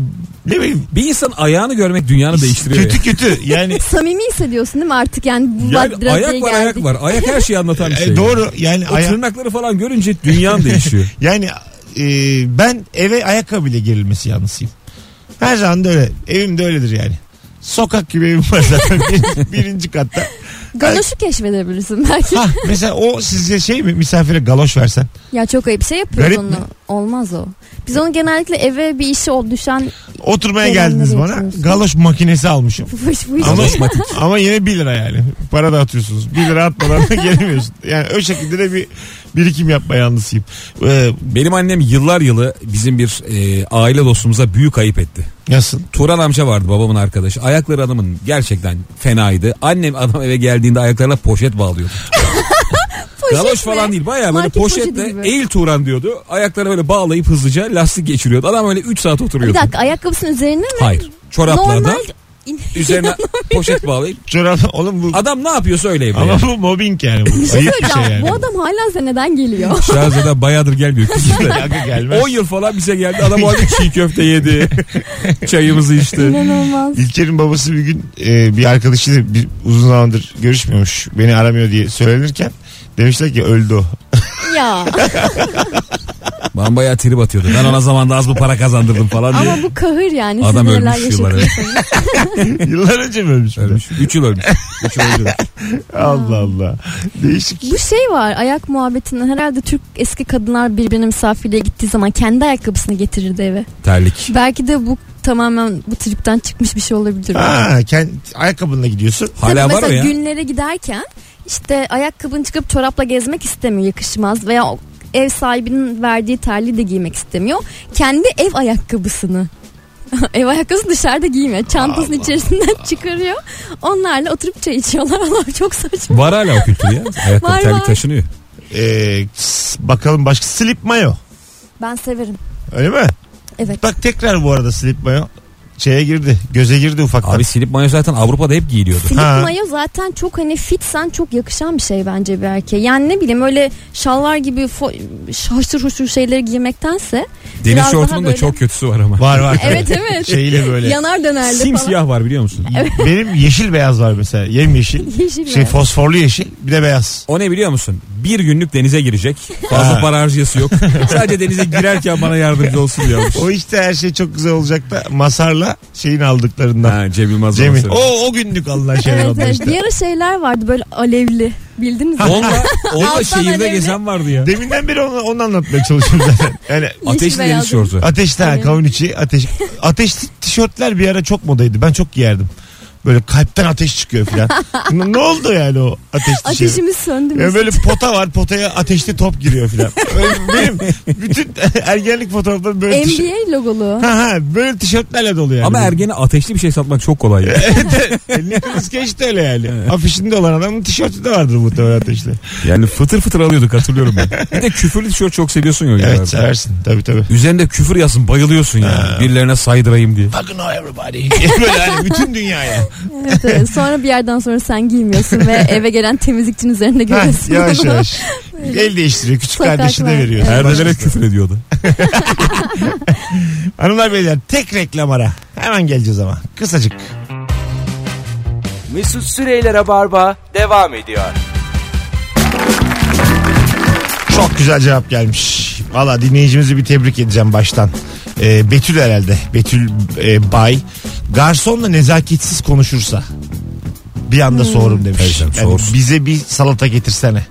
ne bileyim
Bir insan ayağını görmek dünyanı değiştiriyor.
kötü kötü yani
Samimi hissediyorsun değil mi artık yani bu
ya. Yani
maddeye
ayak var ayak
geldik.
var. Ayak her şeyi anlatan bir
e,
şey.
doğru yani
O
aya-
tırnakları falan görünce dünyan değişiyor.
yani e, ben eve ayakkabıyla girilmesi yanlısıyım. Her zaman da öyle. Evim de öyledir yani. Sokak gibi evim var zaten birinci, birinci katta.
Galoşu keşfedebilirsin belki.
Ha mesela o sizce şey mi misafire galoş versen?
ya çok ayıp şey yapıyoruz
Garip
onu.
mi?
Olmaz o. Biz onu genellikle eve bir işi o düşen
Oturmaya
Gelenleri
geldiniz bana
yapıyorsun.
galoş makinesi almışım.
fış fış.
Ama, ama yine 1 lira yani. Para da atıyorsunuz. 1 lira atmadan da gelemiyorsun. Yani o şekilde de bir birikim yapma yanlısıyım. Ee,
Benim annem yıllar yılı bizim bir e, aile dostumuza büyük ayıp etti.
nasıl?
Turan amca vardı babamın arkadaşı. Ayakları adamın gerçekten fenaydı. Annem adam eve geldiğinde ayaklarına poşet bağlıyordu. Galoş
mi?
falan değil bayağı böyle
Market poşeti
poşetle
gibi.
eğil Turan diyordu. Ayaklarına böyle bağlayıp hızlıca lastik geçiriyordu. Adam öyle 3 saat
Bir
oturuyordu.
dakika ayakkabısının üzerine mi?
Hayır çoraplarda
Normal in-
üzerine poşet bağlayıp.
Çorap oğlum bu.
Adam ne yapıyorsa öyle yapıyor.
Ama bu mobbing yani.
Bir
Bu.
şey
Ayıp bir şey
söyleyeceğim.
yani.
Bu adam hala size neden geliyor?
Şarjada bayağıdır gelmiyor.
Kanka gelmez.
10 yıl falan bize geldi. Adam o halde çiğ köfte yedi. Çayımızı içti.
İnanılmaz.
İlker'in babası bir gün e, bir arkadaşıyla bir, uzun zamandır görüşmüyormuş. Beni aramıyor diye söylenirken demişler ki öldü o.
ya
Ben bayağı trip atıyordu. Ben ona zamanında az bu para kazandırdım falan diye.
ama bu kahır yani. Siz
Adam
neler
ölmüş yıllar
yaşadınız.
Yıllar önce mi ölmüş? bu da?
Ölmüş. 3 yıl ölmüş. 3 yıl öldü.
Allah Allah. Değişik.
Bu şey var ayak muhabbetinden herhalde Türk eski kadınlar birbirine misafirliğe gittiği zaman kendi ayakkabısını getirirdi eve.
Terlik.
Belki de bu tamamen bu tripten çıkmış bir şey olabilir.
Ha, kend, ayakkabınla gidiyorsun.
Tabii
Hala var
mesela
o ya.
günlere giderken işte ayakkabını çıkıp çorapla gezmek istemiyor yakışmaz veya o ev sahibinin verdiği terliği de giymek istemiyor. Kendi ev ayakkabısını ev ayakkabısını dışarıda giymiyor. Çantasının içerisinden çıkarıyor. Onlarla oturup çay içiyorlar. Allah çok saçma.
Var hala o kültür ya. Ayakkabı
Var,
terlik
var.
taşınıyor.
Ee, s- bakalım başka slip mayo.
Ben severim.
Öyle mi?
Evet.
Bak tekrar bu arada slip mayo şeye girdi. Göze girdi ufaktan.
Abi silip mayo zaten Avrupa'da hep giyiliyordu.
Slip
Ha.
mayo zaten çok hani fitsen çok yakışan bir şey bence bir erkeğe. Yani ne bileyim öyle şalvar gibi fo- haşır huşur şeyleri giymektense
Deniz
Biraz daha
şortunun da
böyle-
çok kötüsü var ama.
var var.
Evet, evet.
Şeyle böyle.
yanar dönerli falan.
Simsiyah var biliyor musun?
Benim yeşil beyaz var mesela. Yem yeşil.
Yeşil
Şey
beyaz.
fosforlu yeşil bir de beyaz.
O ne biliyor musun? Bir günlük denize girecek. Fazla
Ha.
para harcayası yok. Sadece denize girerken bana yardımcı olsun diyormuş.
O işte her şey çok güzel olacak da masarla şeyin aldıklarından.
Ha, Cem Yılmaz
Cemil.
babası.
O, o günlük alınan şeyler
Evet,
onlar
evet.
işte.
Bir ara şeyler vardı böyle alevli. Bildiniz mi?
Onunla, onunla
Alttan
şehirde
önemli.
gezen vardı ya.
Deminden beri onu, onu anlatmaya çalışıyorum zaten. Yani
Ateşli
beyaz.
deniz şortu.
ateşte ha,
Öyle.
kavun içi ateş. Ateşli tişörtler bir ara çok modaydı. Ben çok giyerdim. Böyle kalpten ateş çıkıyor filan. ne, ne oldu yani o ateşli şey?
Ateşimiz söndü mü?
Ya böyle pota var potaya ateşli top giriyor filan. Öyle Benim bütün ergenlik fotoğraflarım böyle tişört.
NBA logolu.
Ha ha böyle tişörtlerle dolu yani.
Ama ergene ateşli bir şey satmak çok kolay. ya.
Nicholas Cage de öyle yani. Afişinde olan adamın tişörtü de vardır muhtemelen ateşli.
Yani fıtır fıtır alıyorduk hatırlıyorum ben. Bir de küfürlü tişört çok seviyorsun ya. o
Evet
yıllarda.
seversin tabii tabii.
Üzerinde küfür yazsın bayılıyorsun yani. Birilerine saydırayım diye.
Fucking know everybody. böyle hani bütün dünyaya.
Evet, evet. Sonra bir yerden sonra sen giymiyorsun ve eve gelen temizlikçinin üzerinde
Ha, şey.
görüyorsun.
yavaş yavaş. El değiştiriyor. Küçük
Sokaklar.
kardeşine veriyor.
Perdelere
Başkası.
küfür ediyordu.
Hanımlar beyler tek reklam ara. Hemen geleceğiz ama. Kısacık.
Mesut Süreyler'e barba devam ediyor.
Çok güzel cevap gelmiş. Valla dinleyicimizi bir tebrik edeceğim baştan. Ee, Betül herhalde. Betül e, Bay. Garsonla nezaketsiz konuşursa bir anda
Hmm.
soğurum demiş.
Tabii canım,
Yani
soğursun.
bize bir salata getirsene.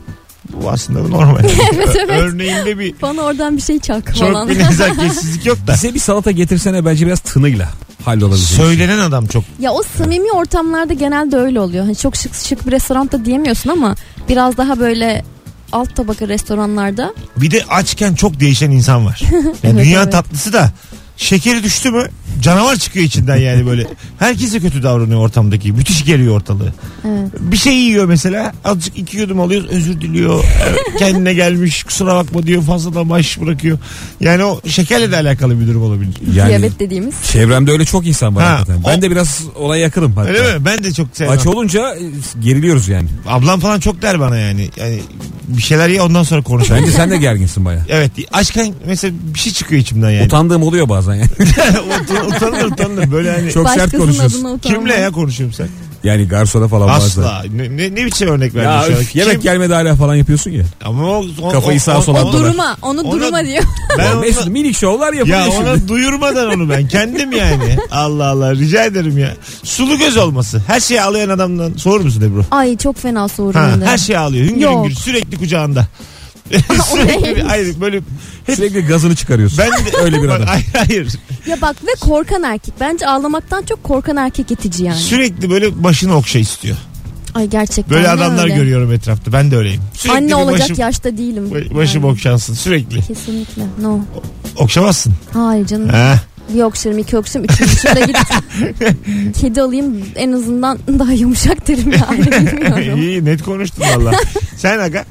Bu aslında normal.
Evet, evet.
Örneğinde bir
Bana oradan bir şey çak
çok
falan.
bir nezaketsizlik yok da.
Bize bir salata getirsene bence biraz tınıyla şey. hallolabilecek.
Söylenen adam çok
Ya o samimi ortamlarda genelde öyle oluyor. Hani çok şık şık bir restoranda diyemiyorsun ama biraz daha böyle alt tabaka restoranlarda
Bir de açken çok değişen insan var. Yani
Evet,
dünya
evet.
tatlısı da şekeri düştü mü Canavar çıkıyor içinden yani böyle. Herkese kötü davranıyor ortamdaki. Müthiş geriyor ortalığı.
Evet.
Bir şey yiyor mesela. Azıcık iki yudum alıyor. Özür diliyor. Kendine gelmiş. Kusura bakma diyor. Fazladan baş bırakıyor. Yani o şekerle de alakalı bir durum olabilir.
Yani
Diyabet dediğimiz.
çevremde öyle çok insan var
Ha,
hakikaten. Ben
o-
de biraz olaya yakınım hatta.
Öyle mi? Ben de çok sevmem.
Aç olunca e, geriliyoruz yani.
Ablam falan çok der bana yani. yani bir şeyler ye ondan sonra konuş.
Bence sen de gerginsin baya.
Evet. Aşken mesela bir şey çıkıyor içimden yani.
Utandığım oluyor bazen yani.
Utan- utanılır utanılır. Böyle hani
Çok sert
Başkasının
konuşuyorsun.
adına utanma.
kimle ya konuşuyorum sen?
Yani garsona falan bazen.
Asla. Ne, ne, ne biçim örnek verdin
Ya
şu an?
öf, yemek
Kim-
gelmedi hala falan yapıyorsun ya.
Ama o, o-
Kafayı
o-
sağa
o-
sola
o-
atma.
Durma onu
Ona-
durma diyor.
Ben
Ya
ona-
Mesut minik şovlar yapıyor
ya
şimdi.
ona duyurmadan onu ben kendim yani. Allah Allah rica ederim ya. Sulu göz olması. Her şeyi ağlayan adamdan sorur musun Ebru?
Ay çok fena soğurum
Ha,
hem de.
her şeyi ağlıyor. Hüngür
Yok.
hüngür sürekli kucağında. sürekli bir- hayır böyle hep
Sürekli gazını çıkarıyorsun.
ben de
Öyle bir
Bak,
adam.
Hayır, hayır.
Ya bak ve korkan erkek. Bence ağlamaktan çok korkan erkek itici yani.
Sürekli böyle başını okşa istiyor.
Ay gerçekten.
Böyle
ne
adamlar
öyle.
görüyorum etrafta. Ben de öyleyim. Sürekli bir
Anne olacak
başım,
yaşta değilim.
ba- başım
Yani.
okşansın sürekli.
Kesinlikle. No.
Okşamazsın.
Hayır canım.
Ha.
Bir okşarım, iki okşarım, üçüncü okşarım git. Kedi alayım en azından daha yumuşak derim yani. Bilmiyorum.
İyi net konuştun valla. Sen aga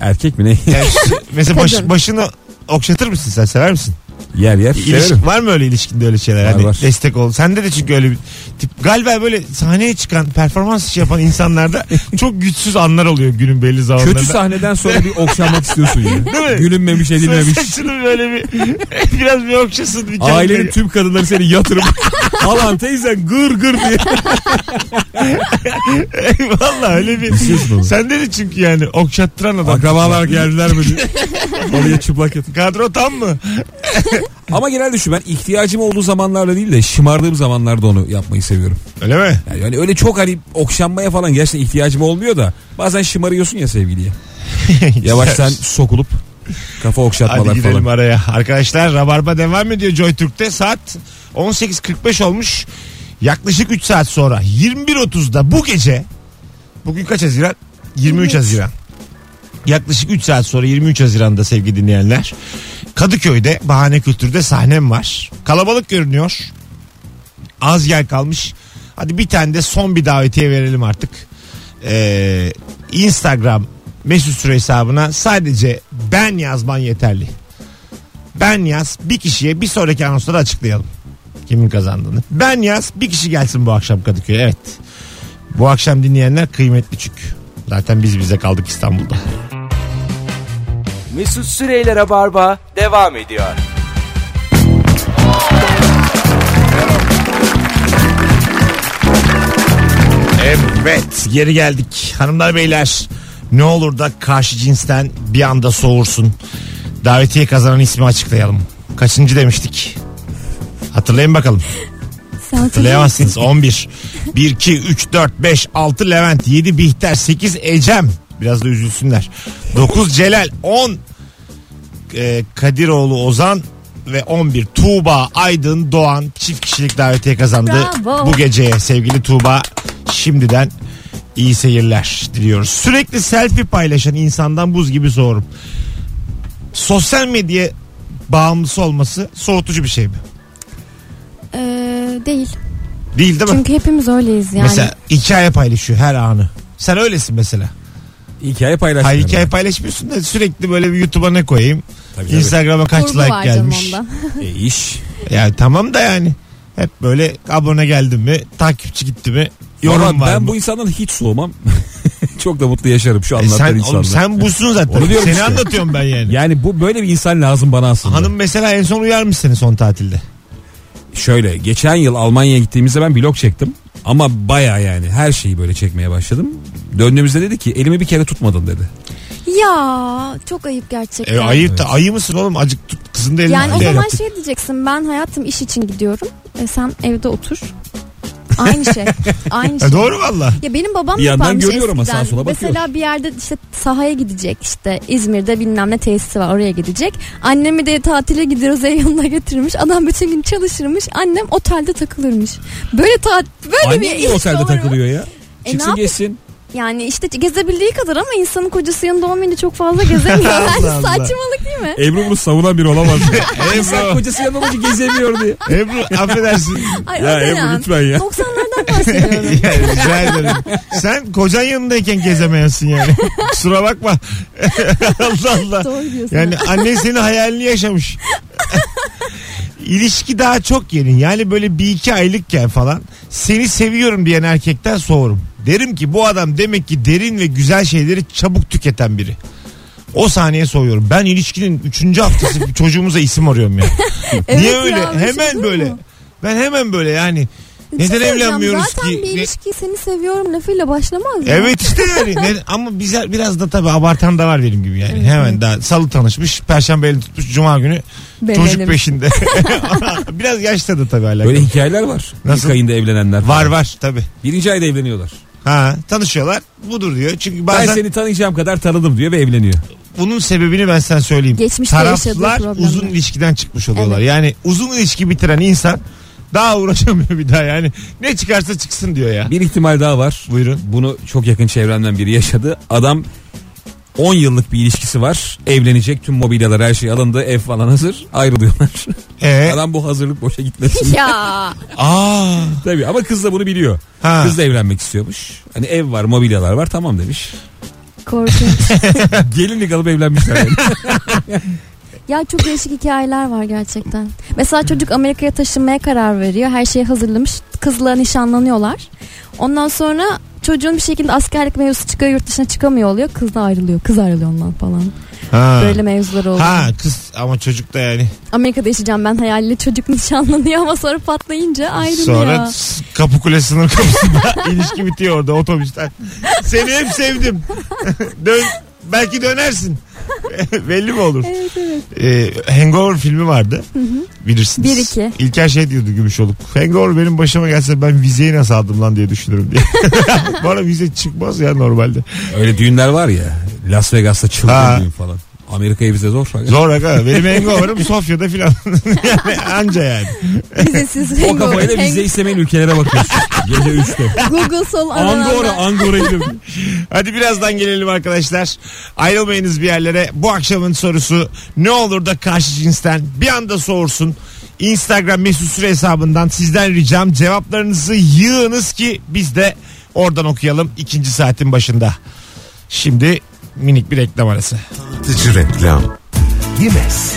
Erkek mi ne?
yani şu- mesela baş-
Kadın.
başını okşatır mısın sen sever misin?
yer yer. Severim.
İlişki, var mı öyle ilişkinde öyle şeyler?
Var,
hani
var.
destek ol. Sende de çünkü öyle bir tip. Galiba böyle sahneye çıkan performans işi yapan insanlarda çok güçsüz anlar oluyor günün belli zamanlarında.
Kötü sahneden sonra bir okşanmak istiyorsun yani.
Değil mi?
Gülünmemiş edilmemiş.
Saçını böyle bir biraz bir okşasın. Bir kendine-
Ailenin tüm kadınları seni yatırıp alan teyzen gır gır diye.
Valla öyle bir.
İstiyorsun onu.
Sende de çünkü yani okşattıran adam.
Akrabalar geldiler mi diye. Oraya çıplak yatır.
Kadro tam mı?
Ama genelde şu ben ihtiyacım olduğu zamanlarda değil de şımardığım zamanlarda onu yapmayı seviyorum.
Öyle mi?
Yani, yani öyle çok hani okşanmaya falan gerçekten ihtiyacım olmuyor da bazen şımarıyorsun ya sevgiliye. Yavaştan sokulup kafa
Hadi
okşatmalar
gidelim
falan.
araya. Arkadaşlar Rabarba devam ediyor Joy Türk'te. Saat 18.45 olmuş. Yaklaşık 3 saat sonra 21.30'da bu gece bugün kaç Haziran? 23 Haziran. Yaklaşık 3 saat sonra 23 Haziran'da sevgili dinleyenler. Kadıköy'de Bahane Kültür'de sahnem var. Kalabalık görünüyor. Az yer kalmış. Hadi bir tane de son bir davetiye verelim artık. Ee, Instagram Mesut Süre hesabına sadece ben yazman yeterli. Ben yaz bir kişiye bir sonraki anonsta da açıklayalım. Kimin kazandığını. Ben yaz bir kişi gelsin bu akşam Kadıköy'e. Evet. Bu akşam dinleyenler kıymetli çünkü. Zaten biz bize kaldık İstanbul'da.
Mesut Süreyler'e barba devam ediyor.
Evet geri geldik. Hanımlar beyler ne olur da karşı cinsten bir anda soğursun. Davetiye kazanan ismi açıklayalım. Kaçıncı demiştik? Hatırlayın bakalım.
Sen hatırlıyor
Hatırlayamazsınız. 11. 1, 2, 3, 4, 5, 6 Levent, 7 Bihter, 8 Ecem. Biraz da üzülsünler. 9 Celal, 10 e, Kadiroğlu Ozan ve 11 Tuğba Aydın Doğan çift kişilik davetiye kazandı.
Bravo.
Bu geceye sevgili Tuğba şimdiden iyi seyirler diliyoruz. Sürekli selfie paylaşan insandan buz gibi soğurum. Sosyal medya bağımlısı olması soğutucu bir şey mi?
Ee, değil.
Değil değil mi?
Çünkü hepimiz öyleyiz yani.
Mesela hikaye paylaşıyor her anı. Sen öylesin mesela.
Hikaye paylaşmıyorum.
Hayır hikaye paylaşmıyorsun da sürekli böyle bir YouTube'a ne koyayım?
Tabii, tabii.
Instagram'a kaç
Kurgu
like
var canım
gelmiş?
onda.
E, iş.
Ya tamam da yani. Hep böyle abone geldim mi, takipçi gitti mi, yorum
Ama
var
ben
mı?
bu insandan hiç soğumam. Çok da mutlu yaşarım şu
E
anlattığın
sen,
insanla.
oğlum, sen busun zaten.
Onu diyorum
Seni
işte.
anlatıyorum ben yani.
Yani bu böyle bir insan lazım bana aslında.
Hanım mesela en son uyarmış seni son tatilde.
Şöyle geçen yıl Almanya'ya gittiğimizde ben blog çektim. Ama baya yani her şeyi böyle çekmeye başladım. Döndüğümüzde dedi ki elimi bir kere tutmadın dedi.
Ya çok ayıp gerçekten.
E, ayıp da ayı mısın oğlum? Acık tut kızın da elini.
Yani o
Değil.
zaman şey diyeceksin ben hayatım iş için gidiyorum. E sen evde otur. Aynı şey. Aynı şey.
E, doğru valla.
Ya benim babam
Bir yandan
yaparmış
görüyor ama
eskiden.
sağa sola bakıyor.
Mesela bir yerde işte sahaya gidecek işte İzmir'de bilmem ne tesisi var oraya gidecek. Annemi de tatile gidiyoruz ev yanına getirmiş. Adam bütün gün çalışırmış. Annem otelde takılırmış. Böyle taat böyle
Annem
bir
niye
ilişki
otelde
olur mu?
takılıyor ya?
E, ne
Çıksın
yapayım?
geçsin.
Yani işte gezebildiği kadar ama insanın kocası yanında olmayınca çok fazla gezemiyor.
Allah
Yani
Allah.
saçmalık değil mi?
Ebru bunu savunan biri olamaz. İnsan
Ebru,
kocası yanında olunca gezemiyor diye.
Ebru affedersin.
Ay
Ya
Özen
Ebru
Han.
lütfen ya.
90'lardan bahsediyorum.
Yani rica ederim. Sen kocan yanındayken gezemeyensin yani. Kusura bakma. Allah Allah.
Doğru diyorsun.
Yani annen senin hayalini yaşamış. İlişki daha çok yeni. Yani böyle bir iki aylıkken falan seni seviyorum diyen erkekten soğurum. Derim ki bu adam demek ki derin ve güzel şeyleri çabuk tüketen biri. O saniye soğuyorum. Ben ilişkinin üçüncü haftası çocuğumuza isim arıyorum ya.
Evet
Niye
ya,
öyle?
bir şey
hemen
değil
böyle.
mi?
Ben hemen böyle yani.
Bir şey
Neden
söyleyeceğim.
evlenmiyoruz
Zaten
ki?
bir
Ne-
ilişki seni seviyorum lafıyla başlamaz ya.
Evet işte yani. Ne- ama bize biraz da tabii abartan da var benim gibi yani. Hemen daha salı tanışmış, perşembe elini tutmuş, cuma günü
Belelim.
çocuk peşinde. biraz yaşta da tabii alakalı.
Böyle hikayeler var.
Nasıl?
İlk ayında evlenenler.
Var var tabii.
Birinci ayda evleniyorlar.
Ha tanışıyorlar. Budur diyor. Çünkü
Ben
bazen
seni tanıyacağım kadar tanıdım diyor ve evleniyor.
bunun sebebini ben sana söyleyeyim.
Geçmişte
Taraflar
yaşadığı problemler.
uzun ilişkiden çıkmış oluyorlar.
Evet.
Yani uzun ilişki bitiren insan daha uğraşamıyor bir daha yani. Ne çıkarsa çıksın diyor ya.
Bir ihtimal daha var.
Buyurun.
Bunu çok yakın çevremden biri yaşadı. Adam 10 yıllık bir ilişkisi var. Evlenecek tüm mobilyalar her şey alındı. Ev falan hazır. Ayrılıyorlar.
Ee,
Adam bu hazırlık boşa gitmesin.
ya
aa,
Tabii ama kız da bunu biliyor.
Ha.
Kız da evlenmek istiyormuş. Hani ev var mobilyalar var tamam demiş.
korkunç.
Gelinlik alıp evlenmişler. yani.
ya çok değişik hikayeler var gerçekten. Mesela çocuk Amerika'ya taşınmaya karar veriyor. Her şeyi hazırlamış. Kızla nişanlanıyorlar. Ondan sonra çocuğun bir şekilde askerlik mevzusu çıkıyor yurt dışına çıkamıyor oluyor. Kız da ayrılıyor. Kız ayrılıyor ondan falan.
ha.
Böyle mevzular oluyor.
Ha kız ama çocuk da yani.
Amerika'da yaşayacağım ben hayaliyle çocuk nişanlanıyor ama sonra patlayınca ayrılıyor.
Sonra s- kapı kule sınır kapısında ilişki bitiyor orada otobüsten. Seni hep sevdim. Dön, belki dönersin. Belli mi olur?
Evet evet.
Ee, Hangover filmi vardı. Bilirsiniz.
Bir iki.
İlker şey diyordu Gümüşoluk. Hangover benim başıma gelse ben vizeyi nasıl aldım lan diye düşünürüm diye. Bana vize çıkmaz ya normalde.
Öyle düğünler var ya. Las Vegas'ta
Ha.
çılgın düğün falan. Amerika'ya bize zor.
Zor aga. Benim hangover'ım Sofya'da filan. yani anca yani.
Vizesiz
O
hangover.
kafayla vize istemeyen ülkelere bakıyorsun. Gece 3'te.
Google sol
Angora,
aralarında.
Angora gidiyor.
Hadi birazdan gelelim arkadaşlar. Ayrılmayınız bir yerlere. Bu akşamın sorusu ne olur da karşı cinsten bir anda soğursun. Instagram mesut süre hesabından sizden ricam cevaplarınızı yığınız ki biz de oradan okuyalım ikinci saatin başında. Şimdi minik bir reklam arası.
Satıcı reklam. Yemez.